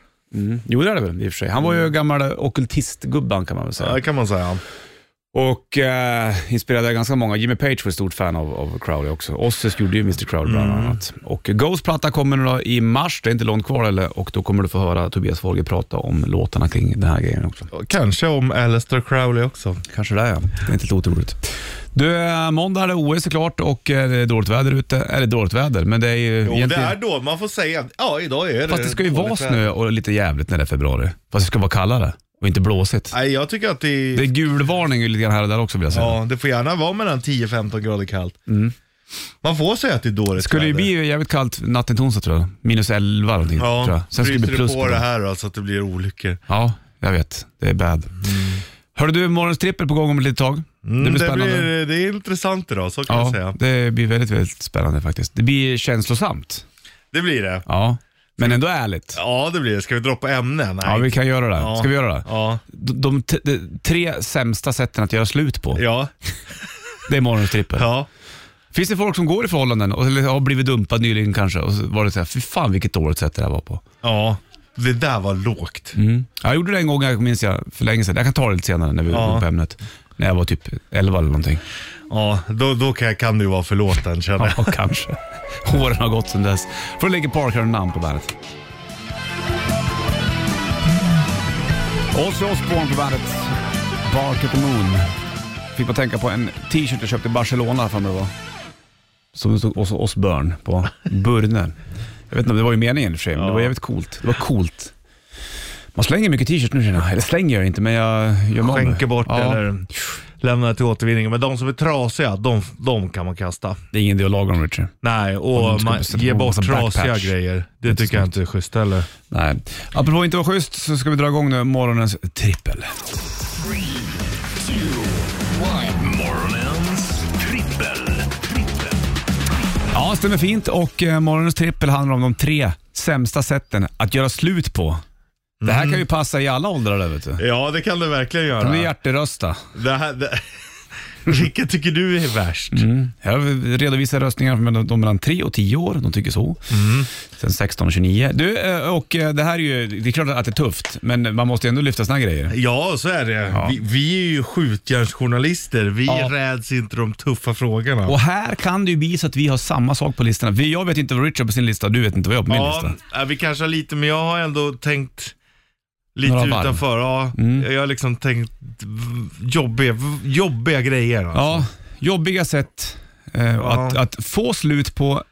Speaker 2: Jo, det är det väl i och för sig. Han var ju gammal ockultistgubban kan man väl säga.
Speaker 3: Ja, det kan man säga.
Speaker 2: Och eh, inspirerade ganska många. Jimmy Page var ett stort fan av, av Crowley också. Ossis gjorde ju Mr Crowley bland
Speaker 3: Mm.
Speaker 2: annat. Och Ghosts platta kommer nu då i mars, det är inte långt kvar eller, och då kommer du få höra Tobias Folge prata om låtarna kring den här grejen också.
Speaker 3: Och Kanske om Alistair Crowley också.
Speaker 2: Kanske det ja, det är inte helt otroligt. Du, eh, måndag är det OS såklart och eh, det är dåligt väder ute. Eller dåligt väder, men det är ju
Speaker 3: Jo, det är då man får säga. Ja, idag är det
Speaker 2: Fast det ska ju
Speaker 3: dåligt
Speaker 2: vara
Speaker 3: väder.
Speaker 2: snö och lite jävligt när det är februari. Fast det ska vara kallare och inte blåsigt.
Speaker 3: Nej, jag tycker att det,
Speaker 2: Det är gulvarning ju lite grann här och där också vill jag säga.
Speaker 3: ja, det får gärna vara mellan 10-15 grader kallt. Man får säga att det är dåligt
Speaker 2: Mm. skulle ju
Speaker 3: väder.
Speaker 2: bli jävligt kallt natten till onsdag tror jag. Minus 11 någonting
Speaker 3: Ja,
Speaker 2: tror jag. Sen skulle det bli
Speaker 3: fryser
Speaker 2: plus
Speaker 3: du på det här då, så att det blir olyckor.
Speaker 2: Ja, jag vet. Det är bad. Hörru du, morgonens trippel på gång om ett litet tag. det blir spännande.
Speaker 3: Mm. blir- Mm, det är intressant idag, så kan jag
Speaker 2: ja,
Speaker 3: säga.
Speaker 2: det blir väldigt, väldigt spännande faktiskt. Det blir känslosamt.
Speaker 3: Det blir det.
Speaker 2: Ja, men ändå ärligt.
Speaker 3: Ja, det blir det. Ska vi droppa ämnen? Nej.
Speaker 2: Ja, vi kan göra det.
Speaker 3: Ja.
Speaker 2: Ska vi göra det?
Speaker 3: Ja.
Speaker 2: De, de, t- de tre sämsta sätten att göra slut på,
Speaker 3: Ja.
Speaker 2: det är morgonens trippel.
Speaker 3: ja.
Speaker 2: Finns det folk som går i förhållanden och eller har blivit dumpad nyligen kanske och så var det så här, fy fan vilket dåligt sätt det här var på.
Speaker 3: Ja. Det där var lågt.
Speaker 2: Mm. Ja, Jag gjorde det en gång, jag minns jag, för länge sedan. Jag kan ta det lite senare när vi
Speaker 3: Ja.
Speaker 2: går på ämnet. När jag var typ 11 eller någonting.
Speaker 3: Ja, då, då kan, kan du vara förlåten känner jag.
Speaker 2: Ja, kanske. Åren har gått sedan dess. Från Linkin Park har du namn på bandet. Ozzy Osbourne på bandet. Bark at the Moon. Fick man tänka på en t-shirt jag köpte i Barcelona för mig det var. Som det stod Os- Osbourne på. Burne. Jag vet inte om det var ju meningen i och för sig, men det var jävligt coolt. Det var coolt. Man slänger mycket t-shirt nu känner jag. Eller slänger gör jag inte, men jag gör mig av med.
Speaker 3: Skänker bort
Speaker 2: Ja.
Speaker 3: eller lämnar till återvinning. Men de som är trasiga, de, de kan man kasta.
Speaker 2: Det är ingen idé att laga dem Richard.
Speaker 3: Nej,
Speaker 2: Om de
Speaker 3: och
Speaker 2: ska
Speaker 3: man
Speaker 2: beställa
Speaker 3: ger
Speaker 2: på en
Speaker 3: bort
Speaker 2: massa
Speaker 3: trasiga
Speaker 2: backpatch.
Speaker 3: grejer. Det tycker jag inte är schysst heller.
Speaker 2: Nej. Apropå inte vara schysst så ska vi dra igång nu morgonens trippel.
Speaker 1: Morgonens trippel. trippel.
Speaker 2: Ja, stämmer fint. Och eh, morgonens trippel handlar om de tre sämsta sätten att göra slut på. Det här kan ju passa i alla åldrar där, vet du.
Speaker 3: Ja, det kan du verkligen
Speaker 2: Kan du
Speaker 3: göra.
Speaker 2: hjärterösta?
Speaker 3: Det här, det... Vilket tycker du är värst?
Speaker 2: Jag redovisar röstningar från de- de mellan 3 och 10 år. De tycker så. Sen 16 och 29. Du, eh, och eh, det här är ju, det är klart att det är tufft, men man måste ju ändå lyfta såna här grejer.
Speaker 3: Ja, så är det. Vi, vi är ju skjutjärnsjournalister. Vi
Speaker 2: Ja.
Speaker 3: räds inte de tuffa frågorna.
Speaker 2: Och här kan det ju bli så att vi har samma sak på listorna. Vi- Jag vet inte vad Richard har på sin lista, du vet inte vad jag har på min
Speaker 3: ja,
Speaker 2: lista.
Speaker 3: eh, vi kanske har lite, men jag har ändå tänkt lite
Speaker 2: Några varv.
Speaker 3: utanför. Ja, Jag har liksom tänkt v- jobbiga, v- jobbiga grejer. Alltså.
Speaker 2: Ja, jobbiga sätt eh, att, att få slut på,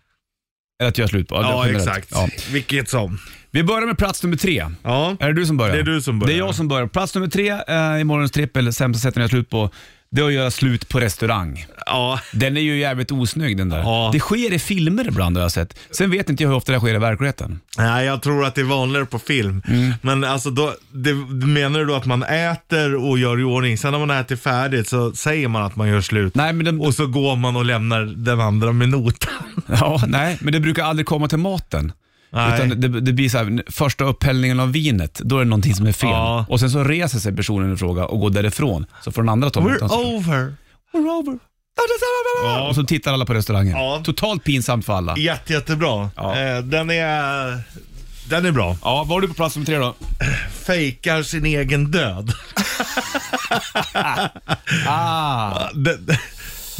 Speaker 2: eller att göra slut på.
Speaker 3: Ja,
Speaker 2: generellt.
Speaker 3: exakt.
Speaker 2: Ja.
Speaker 3: Vilket som.
Speaker 2: Vi börjar med plats nummer tre.
Speaker 3: Ja.
Speaker 2: Är det du som börjar?
Speaker 3: Det är du som börjar.
Speaker 2: Det är jag som börjar. Plats nummer tre eh, i morgons trippel, sämsta sättet att göra slut på, det är att göra slut på restaurang.
Speaker 3: Ja.
Speaker 2: Den är ju jävligt osnygg den där.
Speaker 3: Ja.
Speaker 2: Det sker i filmer ibland har jag sett. Sen vet inte jag hur ofta det sker i verkligheten.
Speaker 3: Nej, jag tror att det är vanligare på film.
Speaker 2: Mm.
Speaker 3: Men alltså, då, det, menar du då att man äter och gör i ordning? Sen när man äter färdigt så säger man att man gör slut.
Speaker 2: Nej, men det,
Speaker 3: Och så går man och lämnar den andra med notan.
Speaker 2: ja, nej, men det brukar aldrig komma till maten.
Speaker 3: Nej.
Speaker 2: Utan det, det blir så här, första upphällningen av vinet, då är det någonting som är fel.
Speaker 3: Ja.
Speaker 2: Och sen så reser sig personen i fråga och går därifrån. Så får den andra ta notan.
Speaker 3: We're over.
Speaker 2: We're over.
Speaker 3: Ja.
Speaker 2: Och så tittar alla på restaurangen.
Speaker 3: Ja.
Speaker 2: Totalt pinsamt för alla.
Speaker 3: Jätte, jättebra.
Speaker 2: Ja.
Speaker 3: Eh, den är... Den är bra.
Speaker 2: Ja, var du på plats nummer tre då?
Speaker 3: Fejkar sin egen död.
Speaker 2: Ah.
Speaker 3: Den,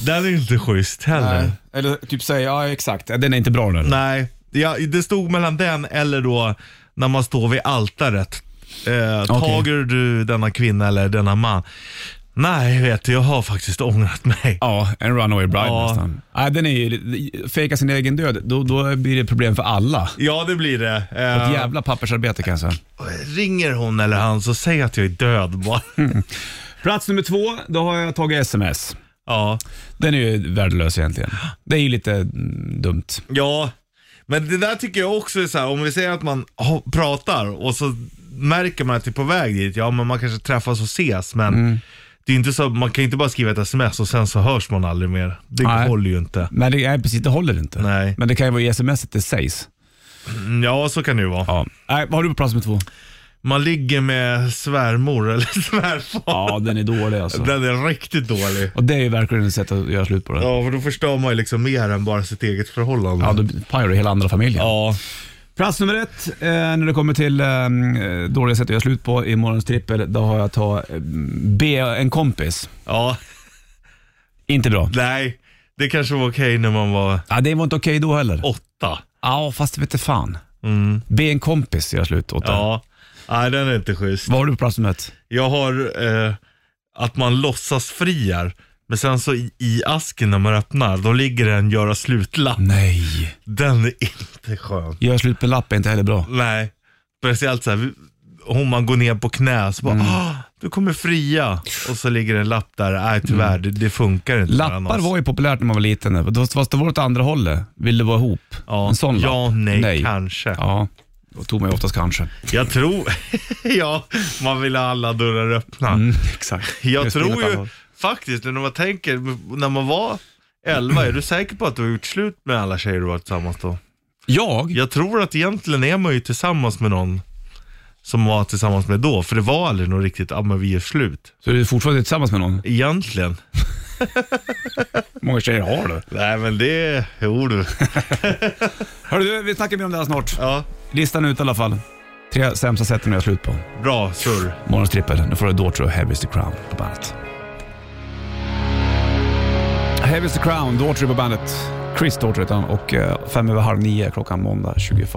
Speaker 3: den är ju inte schysst heller. Nej.
Speaker 2: Eller typ säga, ja exakt. Den är inte bra den.
Speaker 3: Ja, det stod mellan den eller då när man står vid altaret. Eh, Tager du denna kvinna eller denna man? Nej, vet du, jag har faktiskt ångrat mig.
Speaker 2: Ja, en runaway bride
Speaker 3: Ja.
Speaker 2: nästan. Nej, den är ju, fejka sin egen död, då, då blir det problem för alla.
Speaker 3: Ja, det blir det.
Speaker 2: Ett
Speaker 3: Eh,
Speaker 2: jävla pappersarbete kan jag säga.
Speaker 3: ringer hon eller han så säg att jag är död bara.
Speaker 2: Plats nummer två, då har jag tagit sms.
Speaker 3: ja.
Speaker 2: Den är ju värdelös egentligen. Det är ju lite mm, dumt.
Speaker 3: ja, Men det där tycker jag också är så här, om vi säger att man ho- pratar och så märker man att det är på väg dit, ja men man kanske träffas och ses men
Speaker 2: Mm.
Speaker 3: det är inte så, man kan ju inte bara skriva ett sms och sen så hörs man aldrig mer. Det
Speaker 2: Nej.
Speaker 3: håller ju inte.
Speaker 2: Men det, nej, precis, det håller inte.
Speaker 3: Nej.
Speaker 2: Men det kan ju vara i sms det sägs.
Speaker 3: Mm, Ja, så kan det ju vara.
Speaker 2: Ja. Nej, vad har du på plats nummer två?
Speaker 3: Man ligger med svärmor eller svärfar.
Speaker 2: Ja, den är dålig alltså.
Speaker 3: Den är riktigt dålig.
Speaker 2: Och det är ju verkligen ett sätt att göra slut på det.
Speaker 3: Ja, för då förstör man ju liksom mer än bara sitt eget förhållande.
Speaker 2: Ja, då pajar du hela andra familjen.
Speaker 3: ja.
Speaker 2: Plats nummer ett, eh, när det kommer till eh, dåliga sätt att göra slut på i morgons trippel, då har jag att ta eh, be en kompis.
Speaker 3: Ja,
Speaker 2: Inte bra.
Speaker 3: nej. Det kanske var okej när man var
Speaker 2: Ja, det var inte okej då heller.
Speaker 3: åtta.
Speaker 2: Ja, fast vet du fan. Be en kompis göra slut åt dig.
Speaker 3: Mm. Ja. Nej, den är inte schysst.
Speaker 2: Vad har du på plats nummer ett?
Speaker 3: Jag har eh, att man låtsas friar, men sen så i, i asken när man öppnar, då ligger det en göra slutlapp.
Speaker 2: Nej.
Speaker 3: Den är inte skön.
Speaker 2: Göra slut med lapp är inte heller bra.
Speaker 3: Nej, speciellt så här, vi- om man går ner på knä så bara,
Speaker 2: Mm.
Speaker 3: "Ah, du kommer fria. Och så ligger det en lapp där, nej tyvärr, det, det funkar inte. mellan
Speaker 2: Mm. Lappar
Speaker 3: oss.
Speaker 2: var ju populärt när man var liten. Då- Fast det var åt andra hållet. Vill du vara ihop?
Speaker 3: ja,
Speaker 2: En sån
Speaker 3: Ja,
Speaker 2: lapp.
Speaker 3: nej, kanske.
Speaker 2: Ja, då tog man ju oftast kanske.
Speaker 3: Jag tror, ja, man vill ha alla dörrar öppna.
Speaker 2: Mm. exakt.
Speaker 3: Jag
Speaker 2: Just
Speaker 3: tror
Speaker 2: inåt
Speaker 3: ju
Speaker 2: andra håll.
Speaker 3: faktiskt, när man tänker, när man var 11, är du säker på att du har gjort slut med alla tjejer du varit tillsammans då?
Speaker 2: Jag?
Speaker 3: Jag tror att egentligen är man ju tillsammans med någon som var tillsammans med då, för det var aldrig något riktigt, ja men vi är slut.
Speaker 2: Så är du fortfarande tillsammans med någon?
Speaker 3: Egentligen.
Speaker 2: många tjejer har du?
Speaker 3: Nej men det, jo du.
Speaker 2: Hörru du, vi snackar mer om det här snart.
Speaker 3: Ja,
Speaker 2: Listan ut i alla fall. Tre sämsta sätten att göra slut på.
Speaker 3: bra surr.
Speaker 2: Morgons trippel. Nu får du Daughter of Heavy is the Crown på bandet. Heavy is the Crown, Daughter på bandet. Chris Daughter heter han och eh, fem över halv nio klockan måndag 21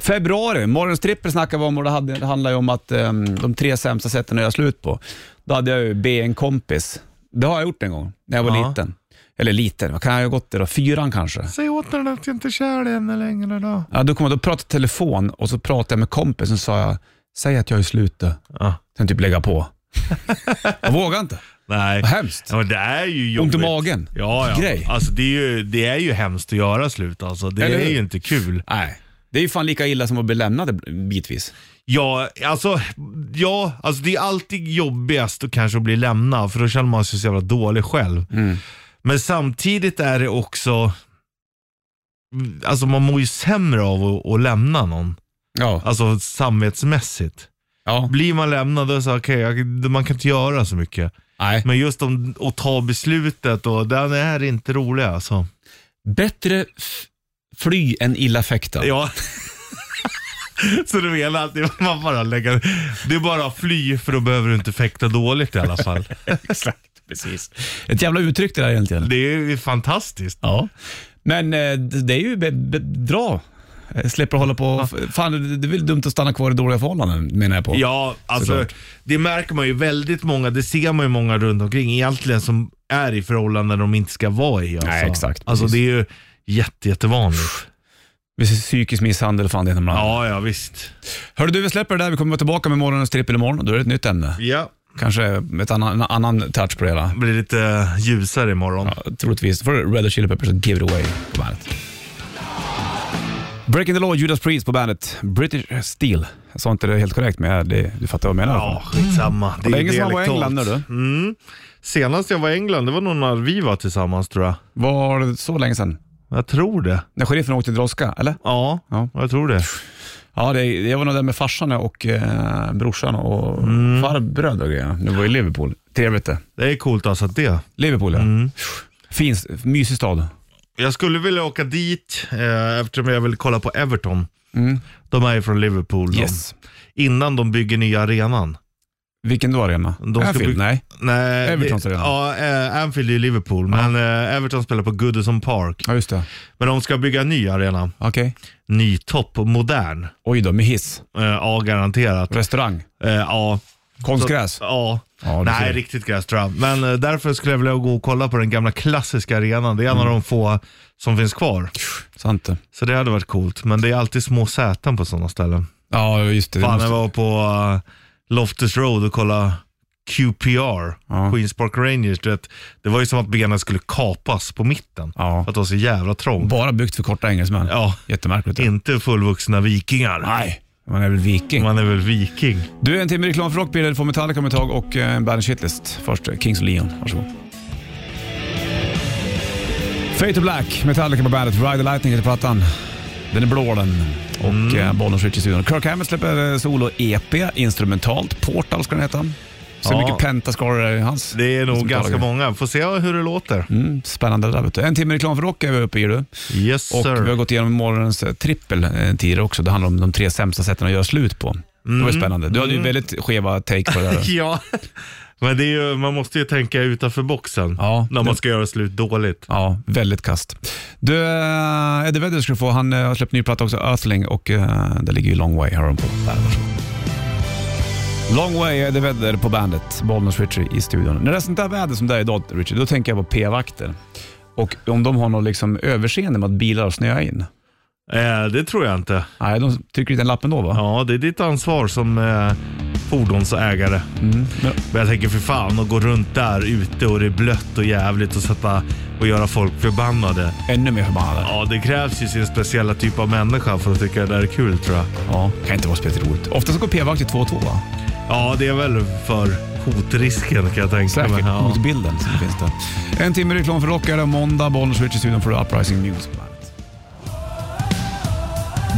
Speaker 2: februari. Morgons trippel snackade vi om och det, hade, det handlade ju om att eh, de tre sämsta sätten att göra slut på. Då hade jag ju be en kompis. Det har jag gjort en gång när jag var
Speaker 3: Ja.
Speaker 2: liten. Eller liten, vad kan jag ha gått i då? Fyran kanske?
Speaker 3: Säg åt den att jag inte är kär i henne längre då.
Speaker 2: Ja, då kom jag, då pratade jag telefon och så pratade jag med kompisen och sa jag, säg att jag är slut då.
Speaker 3: Ja.
Speaker 2: Sen typ lägga på. jag vågar inte.
Speaker 3: Nej.
Speaker 2: Vad hemskt.
Speaker 3: Ja, men det är ju jobbigt.
Speaker 2: Ont i magen.
Speaker 3: Ja, ja.
Speaker 2: Grej.
Speaker 3: Alltså det är, ju, det är ju hemskt att göra slut alltså. Det
Speaker 2: Eller
Speaker 3: är
Speaker 2: hur?
Speaker 3: ju inte kul.
Speaker 2: Nej. Det är ju fan lika illa som att bli lämnad bitvis.
Speaker 3: Ja, alltså, ja, alltså det är alltid jobbigast att kanske bli lämnad för då känner man sig så jävla dålig själv.
Speaker 2: Mm.
Speaker 3: Men samtidigt är det också, alltså man mår ju sämre av att, att lämna någon.
Speaker 2: Ja.
Speaker 3: Alltså samvetsmässigt.
Speaker 2: ja.
Speaker 3: Blir man lämnad då är det så här, okej, jag- man kan inte göra så mycket.
Speaker 2: Nej.
Speaker 3: Men just om, att ta beslutet och den är inte rolig alltså.
Speaker 2: Bättre f- fly än illa fäkta.
Speaker 3: Ja. Så du menar att det- man bara lägger, det är bara att fly för då behöver du inte fäkta dåligt i alla fall.
Speaker 2: Exakt, precis. Ett jävla uttryck det där egentligen.
Speaker 3: Det är ju fantastiskt.
Speaker 2: Ja. Men eh, det det är ju be- be- dra. Eh, Släpper hålla på. och f- Fan, det- det är väl dumt att stanna kvar i dåliga förhållanden menar jag på.
Speaker 3: Ja, alltså
Speaker 2: Såklart.
Speaker 3: det märker man ju väldigt många, det ser man ju många runt omkring egentligen som är i förhållanden de inte ska vara i. Alltså.
Speaker 2: Nej, exakt,
Speaker 3: Alltså
Speaker 2: precis.
Speaker 3: det är ju jätte, jättevanligt.
Speaker 2: Visst, Psykisk misshandel, fan det heter man.
Speaker 3: Ja, ja visst.
Speaker 2: Hörru du, vi släpper det där. Vi kommer vara tillbaka med morgonens trippel imorgon. Då är det ett nytt ämne.
Speaker 3: Ja.
Speaker 2: Kanske ett annan, en annan touch på det hela.
Speaker 3: Blir lite ljusare imorgon.
Speaker 2: Ja, troligtvis. Då får du Red Hot Chili Peppers och Give It Away på bandet. Breaking the Law, Judas Priest på bandet. British Steel. Jag sa inte det helt korrekt, men jag- det, du fattar vad jag menar.
Speaker 3: Ja, skitsamma. Det är
Speaker 2: länge sedan man var i
Speaker 3: dialektalt.
Speaker 2: England nu du.
Speaker 3: Mm. Senast jag var i England, det var nog när vi var tillsammans tror jag.
Speaker 2: Var det så länge sedan?
Speaker 3: Jag tror det.
Speaker 2: När sheriffen åkte till droska, eller?
Speaker 3: Ja,
Speaker 2: Ja.
Speaker 3: jag tror det.
Speaker 2: Ja, det, jag var nog där med farsan och eh, brorsan och
Speaker 3: Mm.
Speaker 2: farbröder och grejer. Det var i Liverpool. Trevligt det.
Speaker 3: Det är coolt alltså att det.
Speaker 2: Liverpool,
Speaker 3: Mm.
Speaker 2: ja. Fin, mysig stad.
Speaker 3: Jag skulle vilja åka dit eh, eftersom jag vill kolla på Everton. De är ju från Liverpool.
Speaker 2: Mm. Yes.
Speaker 3: De. Innan de bygger nya arenan.
Speaker 2: Vilken då arena?
Speaker 3: De ska
Speaker 2: Anfield?
Speaker 3: bygga-
Speaker 2: Nej.
Speaker 3: Nej,
Speaker 2: Evertons
Speaker 3: det-
Speaker 2: arena.
Speaker 3: Ja, eh, Anfield är ju Liverpool, men eh, Everton spelar på Goodison Park.
Speaker 2: Ja, just det.
Speaker 3: Men de ska bygga en ny arena.
Speaker 2: Okej.
Speaker 3: Ny topp, modern.
Speaker 2: Oj då, med hiss.
Speaker 3: Eh, ja, garanterat.
Speaker 2: Restaurang.
Speaker 3: Eh, ja.
Speaker 2: Konstgräs.
Speaker 3: Så- Ja.
Speaker 2: Ja, det ser
Speaker 3: Nej,
Speaker 2: jag.
Speaker 3: riktigt gräs tror jag. Men eh, därför skulle jag vilja gå och kolla på den gamla klassiska arenan. Det är en av de få som finns kvar.
Speaker 2: Sant det.
Speaker 3: Så det hade varit coolt. Men det är alltid små säten på sådana ställen.
Speaker 2: Ja, just det. det
Speaker 3: Fan,
Speaker 2: måste-
Speaker 3: jag var på eh, Loftus Road och kollade QPR,
Speaker 2: Ja.
Speaker 3: Queens Park Rangers, du vet, det var ju som att benet skulle kapas på mitten.
Speaker 2: Ja.
Speaker 3: För att det var så jävla trångt.
Speaker 2: Bara byggt för korta engelsmän.
Speaker 3: Ja.
Speaker 2: Jättemärkligt.
Speaker 3: Inte fullvuxna vikingar.
Speaker 2: Nej, man är väl viking.
Speaker 3: Man är väl viking.
Speaker 2: Du, en timme reklam för Rockbilder får Metallica om ett tag och eh, en Bandit Shitlist. Först eh, Kings of Leon. Varsågod. Fate to Black, Metallica på bandet. Ride the Lightning heter plattan. Den är blå den. Och mm. Bollnäs Rich i studion. Kirk Hammett släpper eh, solo-EP, instrumentalt. Portal ska den heta. Så
Speaker 3: Ja.
Speaker 2: mycket pentaskaror är i hans.
Speaker 3: Det är nog
Speaker 2: Som
Speaker 3: ganska
Speaker 2: Metallica.
Speaker 3: många. Får se hur det låter.
Speaker 2: Mm, spännande det där vet du. En timme reklam för rock är vi uppe i du.
Speaker 3: Yes
Speaker 2: Och vi har
Speaker 3: sir.
Speaker 2: gått igenom morgonens eh, trippel eh, tidigare också. Det handlar om de tre sämsta sätten att göra slut på. Det
Speaker 3: Mm.
Speaker 2: var ju spännande. Du hade ju väldigt skeva take på det där.
Speaker 3: Ja. Men det är ju, man måste ju tänka utanför boxen
Speaker 2: Ja.
Speaker 3: när man ska göra slut dåligt.
Speaker 2: Ja, väldigt kast. Du, eh, Eddie Vedder ska du få. Han eh, har släppt ny platta också, Earthling, och eh, det ligger ju Long Way, hör de på. Där, varsågod. Long Way, Eddie Vedder på bandet. Bollnäs Richie i studion. När det är sånt där väder som det är idag, Richie, då tänker jag på p-vakter. Och om de har något liksom överseende med att bilar snöar in.
Speaker 3: Eh, det tror jag inte.
Speaker 2: Nej, de trycker lite en lapp ändå va?
Speaker 3: Ja, det är ditt ansvar som eh, fordonsägare.
Speaker 2: Mm, Men-
Speaker 3: Men jag tänker för fan att gå runt där ute och det är blött och jävligt och sätta och göra folk förbannade.
Speaker 2: Ännu mer förbannade.
Speaker 3: Ja, det krävs ju sin speciella typ av människa för att tycka det där är kul tror jag.
Speaker 2: Ja, kan inte vara speciellt roligt. Ofta så går p-vakter 2 och 2 va?
Speaker 3: Ja, det är väl för hotrisken kan jag tänka mig.
Speaker 2: Säkert,
Speaker 3: Ja.
Speaker 2: hotbilden som finns där. En timme reklam för rockare, måndag, Bollnäs Rich i studion för Uprising News på bandet.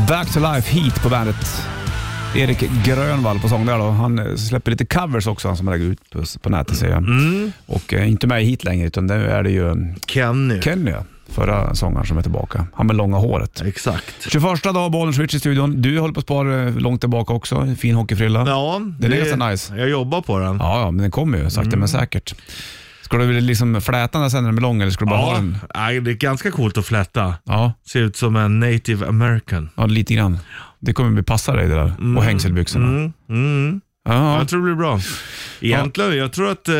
Speaker 2: Back to Life Heat på bandet. Erik Grönvall på sång där då. Han eh, släpper lite covers också, han som lägger ut på, på nätet ser jag.
Speaker 3: Mm.
Speaker 2: Och eh, inte med i Heat längre, utan nu är det ju eh,
Speaker 3: Kenny.
Speaker 2: Kenny, förra sångaren som är tillbaka. Han med långa håret.
Speaker 3: Exakt.
Speaker 2: 21 dag, Bollnäs Rich i studion. Du håller på att spara eh, långt tillbaka också. Fin hockeyfrilla.
Speaker 3: Ja,
Speaker 2: Den är ganska nice.
Speaker 3: Jag jobbar på den.
Speaker 2: Ja, ja, men den kommer ju sakta
Speaker 3: Mm.
Speaker 2: men säkert. Ska du liksom fläta den där sen när den blir lång eller ska du bara ha
Speaker 3: Ja,
Speaker 2: den?
Speaker 3: nej, det är ganska coolt att flätta.
Speaker 2: Ja,
Speaker 3: Ser ut som en native american.
Speaker 2: ja, lite grann. Det kommer bli passa dig det där. Och hängselbyxorna.
Speaker 3: Mm, mm.
Speaker 2: Ja, ja.
Speaker 3: Jag tror det blir bra. Egentligen, jag tror att... Eh,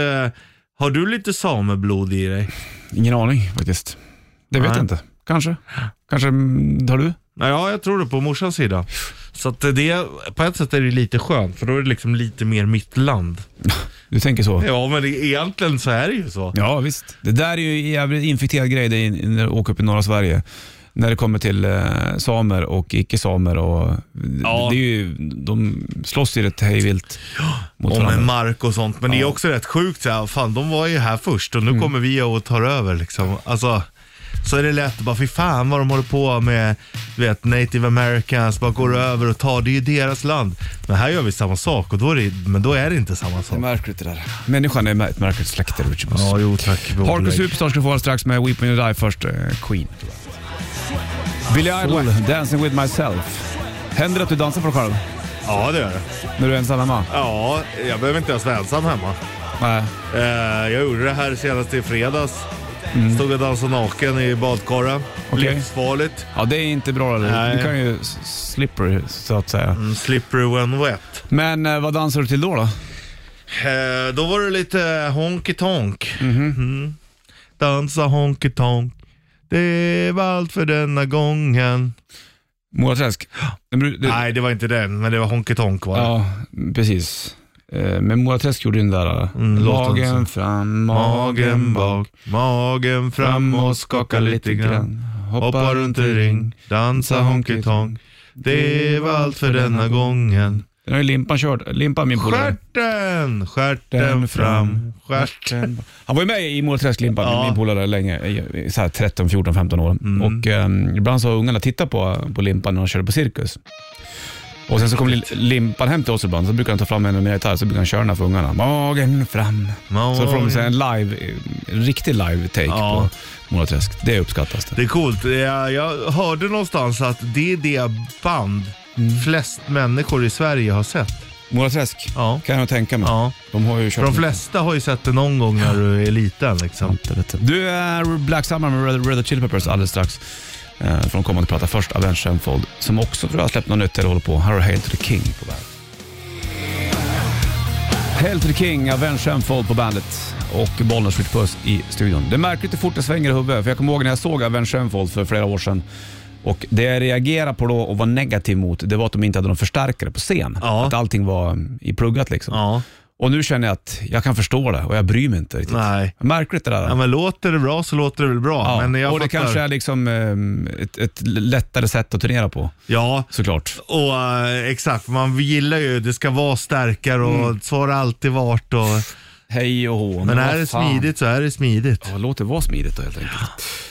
Speaker 3: har du lite sameblod i dig?
Speaker 2: Ingen aning faktiskt. Det vet
Speaker 3: Nej.
Speaker 2: jag inte. Kanske. Kanske mm, har du?
Speaker 3: Ja, jag tror det på morsans sida. Så att det, på ett sätt är det lite skönt, för då är det liksom lite mer mitt land.
Speaker 2: Du tänker så?
Speaker 3: Ja, men det, egentligen så är det ju så.
Speaker 2: Ja, visst. Det där är ju en jävligt infekterad grej det är in- när du åker upp i norra Sverige. När det kommer till eh, samer och icke-samer. Och,
Speaker 3: Ja.
Speaker 2: det är ju, de slåss ju rätt hejvilt mot
Speaker 3: Och med
Speaker 2: varandra.
Speaker 3: mark och sånt. Men det är också rätt sjukt. Så här, fan, de var ju här först och nu kommer vi och tar över. Liksom. Alltså, så är det lätt att bara, fy fan vad de håller på med du vet, native americans. Bara går över och tar, det är ju deras land. Men här gör vi samma sak, och då är det, men då är det inte samma
Speaker 2: Det är
Speaker 3: sak.
Speaker 2: märkligt det där. Människan är ett märkligt släkte, Richard Buss.
Speaker 3: Ja, jo tack.
Speaker 2: Parker Superstar ska få vara strax med Weep When You Die först, eh, Queen. Billy Idol, Dancing With Myself. Händer det att du dansar för dig själv
Speaker 3: Ja, det gör det.
Speaker 2: när du är ensam hemma?
Speaker 3: Ja, jag behöver inte ens vara ensam hemma.
Speaker 2: Nej.
Speaker 3: Eh, jag gjorde det här senast i fredags. Stod och dansade naken i badkaren.
Speaker 2: Okej.
Speaker 3: Livsfarligt.
Speaker 2: Ja, det är inte bra. Eller?
Speaker 3: Nej.
Speaker 2: Du kan ju s- slipper så att säga.
Speaker 3: Mm, Slippery when wet.
Speaker 2: Men eh, vad dansar du till då? då?
Speaker 3: Eh, då var det lite honky tonk. Mm. Dansa honky tonk. Det var allt för denna gången.
Speaker 2: Moraträsk? Men du- du-
Speaker 3: Nej, det var inte den, men det var honky tonk var det.
Speaker 2: Ja, precis. Eh, Men Moraträsk gjorde ju den där... eh,
Speaker 3: Mm, låten
Speaker 2: magen
Speaker 3: så.
Speaker 2: fram,
Speaker 3: Magen bak, magen fram och skaka lite grann. Hoppa runt i ring, dansa honky tonk. Det var allt för denna gången.
Speaker 2: Den har ju Limpan kört. Limpan min polare.
Speaker 3: Stjärten, stjärten fram, stjärten.
Speaker 2: Han var ju med i Målträsklimpan,
Speaker 3: Ja. Mm.
Speaker 2: min polare, länge. i- i Så här 13, 14, 15 år. Och eh, ibland så har ungarna tittat på, på Limpan när de körde på cirkus. Och sen så kom li- Limpan hem till oss ibland, så brukar han ta fram en nya gitarr, så brukar han köra den här för ungarna. Magen fram. Så får de
Speaker 3: Magen.
Speaker 2: säga en live, eh, riktig live-take
Speaker 3: Ja.
Speaker 2: på Målaträsk. Det uppskattas det.
Speaker 3: Det är coolt. Jag, jag hörde någonstans att det är det band flest människor i Sverige har sett.
Speaker 2: Målaträsk
Speaker 3: Ja.
Speaker 2: kan jag nog tänka mig.
Speaker 3: Ja.
Speaker 2: De har ju
Speaker 3: För
Speaker 2: kört
Speaker 3: de flesta har ju sett det någon gång när du är liten. Liksom.
Speaker 2: Du är Black Summer med Red, Red Hot Chili Peppers alldeles strax. Eh, från kommande platta först, Avenged Sevenfold, som också tror jag har släppt något nytt eller håller på. Här har Hail to the King på bandet. Hail to the King, Avenged Sevenfold på bandet och Bollnäs Rich Puss i studion. Det är märkligt hur fort det svänger i huvudet, för jag kommer ihåg när jag såg Avenged Sevenfold för flera år sedan. Och det jag reagerade på då och var negativ mot, det var att de inte hade någon förstärkare på scen.
Speaker 3: Ja.
Speaker 2: Att allting var mm, i pluggat liksom.
Speaker 3: Ja.
Speaker 2: Och nu känner jag att jag kan förstå det och jag bryr mig inte riktigt.
Speaker 3: Nej.
Speaker 2: Märkligt det där.
Speaker 3: Ja, men låter det bra så låter det väl bra.
Speaker 2: Ja,
Speaker 3: Men jag
Speaker 2: och det
Speaker 3: fattar.
Speaker 2: kanske är liksom eh, ett, ett lättare sätt att turnera på,
Speaker 3: Ja,
Speaker 2: såklart.
Speaker 3: och eh, exakt. Man gillar ju, det ska vara starkare och så har det alltid varit. Och,
Speaker 2: Hej och hå.
Speaker 3: men är
Speaker 2: Mm. vad
Speaker 3: det
Speaker 2: fan.
Speaker 3: smidigt så är det smidigt.
Speaker 2: Ja, låt det vara smidigt då helt enkelt.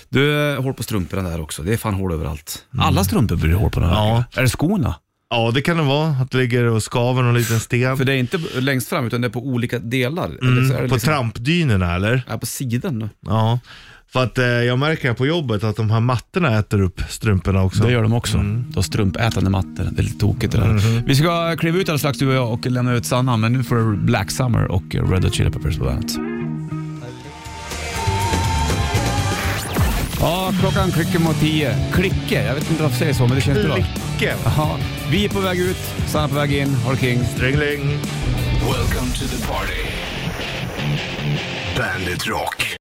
Speaker 2: Du, eh, hål på strumporna där också. Det är fan hål överallt. Alla strumpor blir det hål på den här.
Speaker 3: Mm. Ja.
Speaker 2: veckan. Är det skorna?
Speaker 3: Ja, det kan det vara. Att det ligger och skaver någon liten sten.
Speaker 2: För det är inte b- längst fram, utan det är på olika delar. Eller så är det
Speaker 3: Mm, på
Speaker 2: liksom-
Speaker 3: trampdynorna eller?
Speaker 2: Ja, på sidan.
Speaker 3: Ja. För att eh, jag märker här på jobbet att de här mattorna äter upp strumporna också.
Speaker 2: Det gör de också. De har strumpätande mattor. Det är lite tokigt det där. Vi ska kliva ut alldeles strax du och jag och lämna ut Sanna, men nu får du Black Summer och Red Hot Chili Peppers på bandet. Ja, klockan klickar mot tio. Klicke, jag vet inte varför jag säger så, men det känns bra.
Speaker 3: Lycke.
Speaker 2: Ja, vi är på väg ut, Sanna på väg in, har det king.
Speaker 3: Drängling.
Speaker 1: Welcome to the party. Bandit Rock.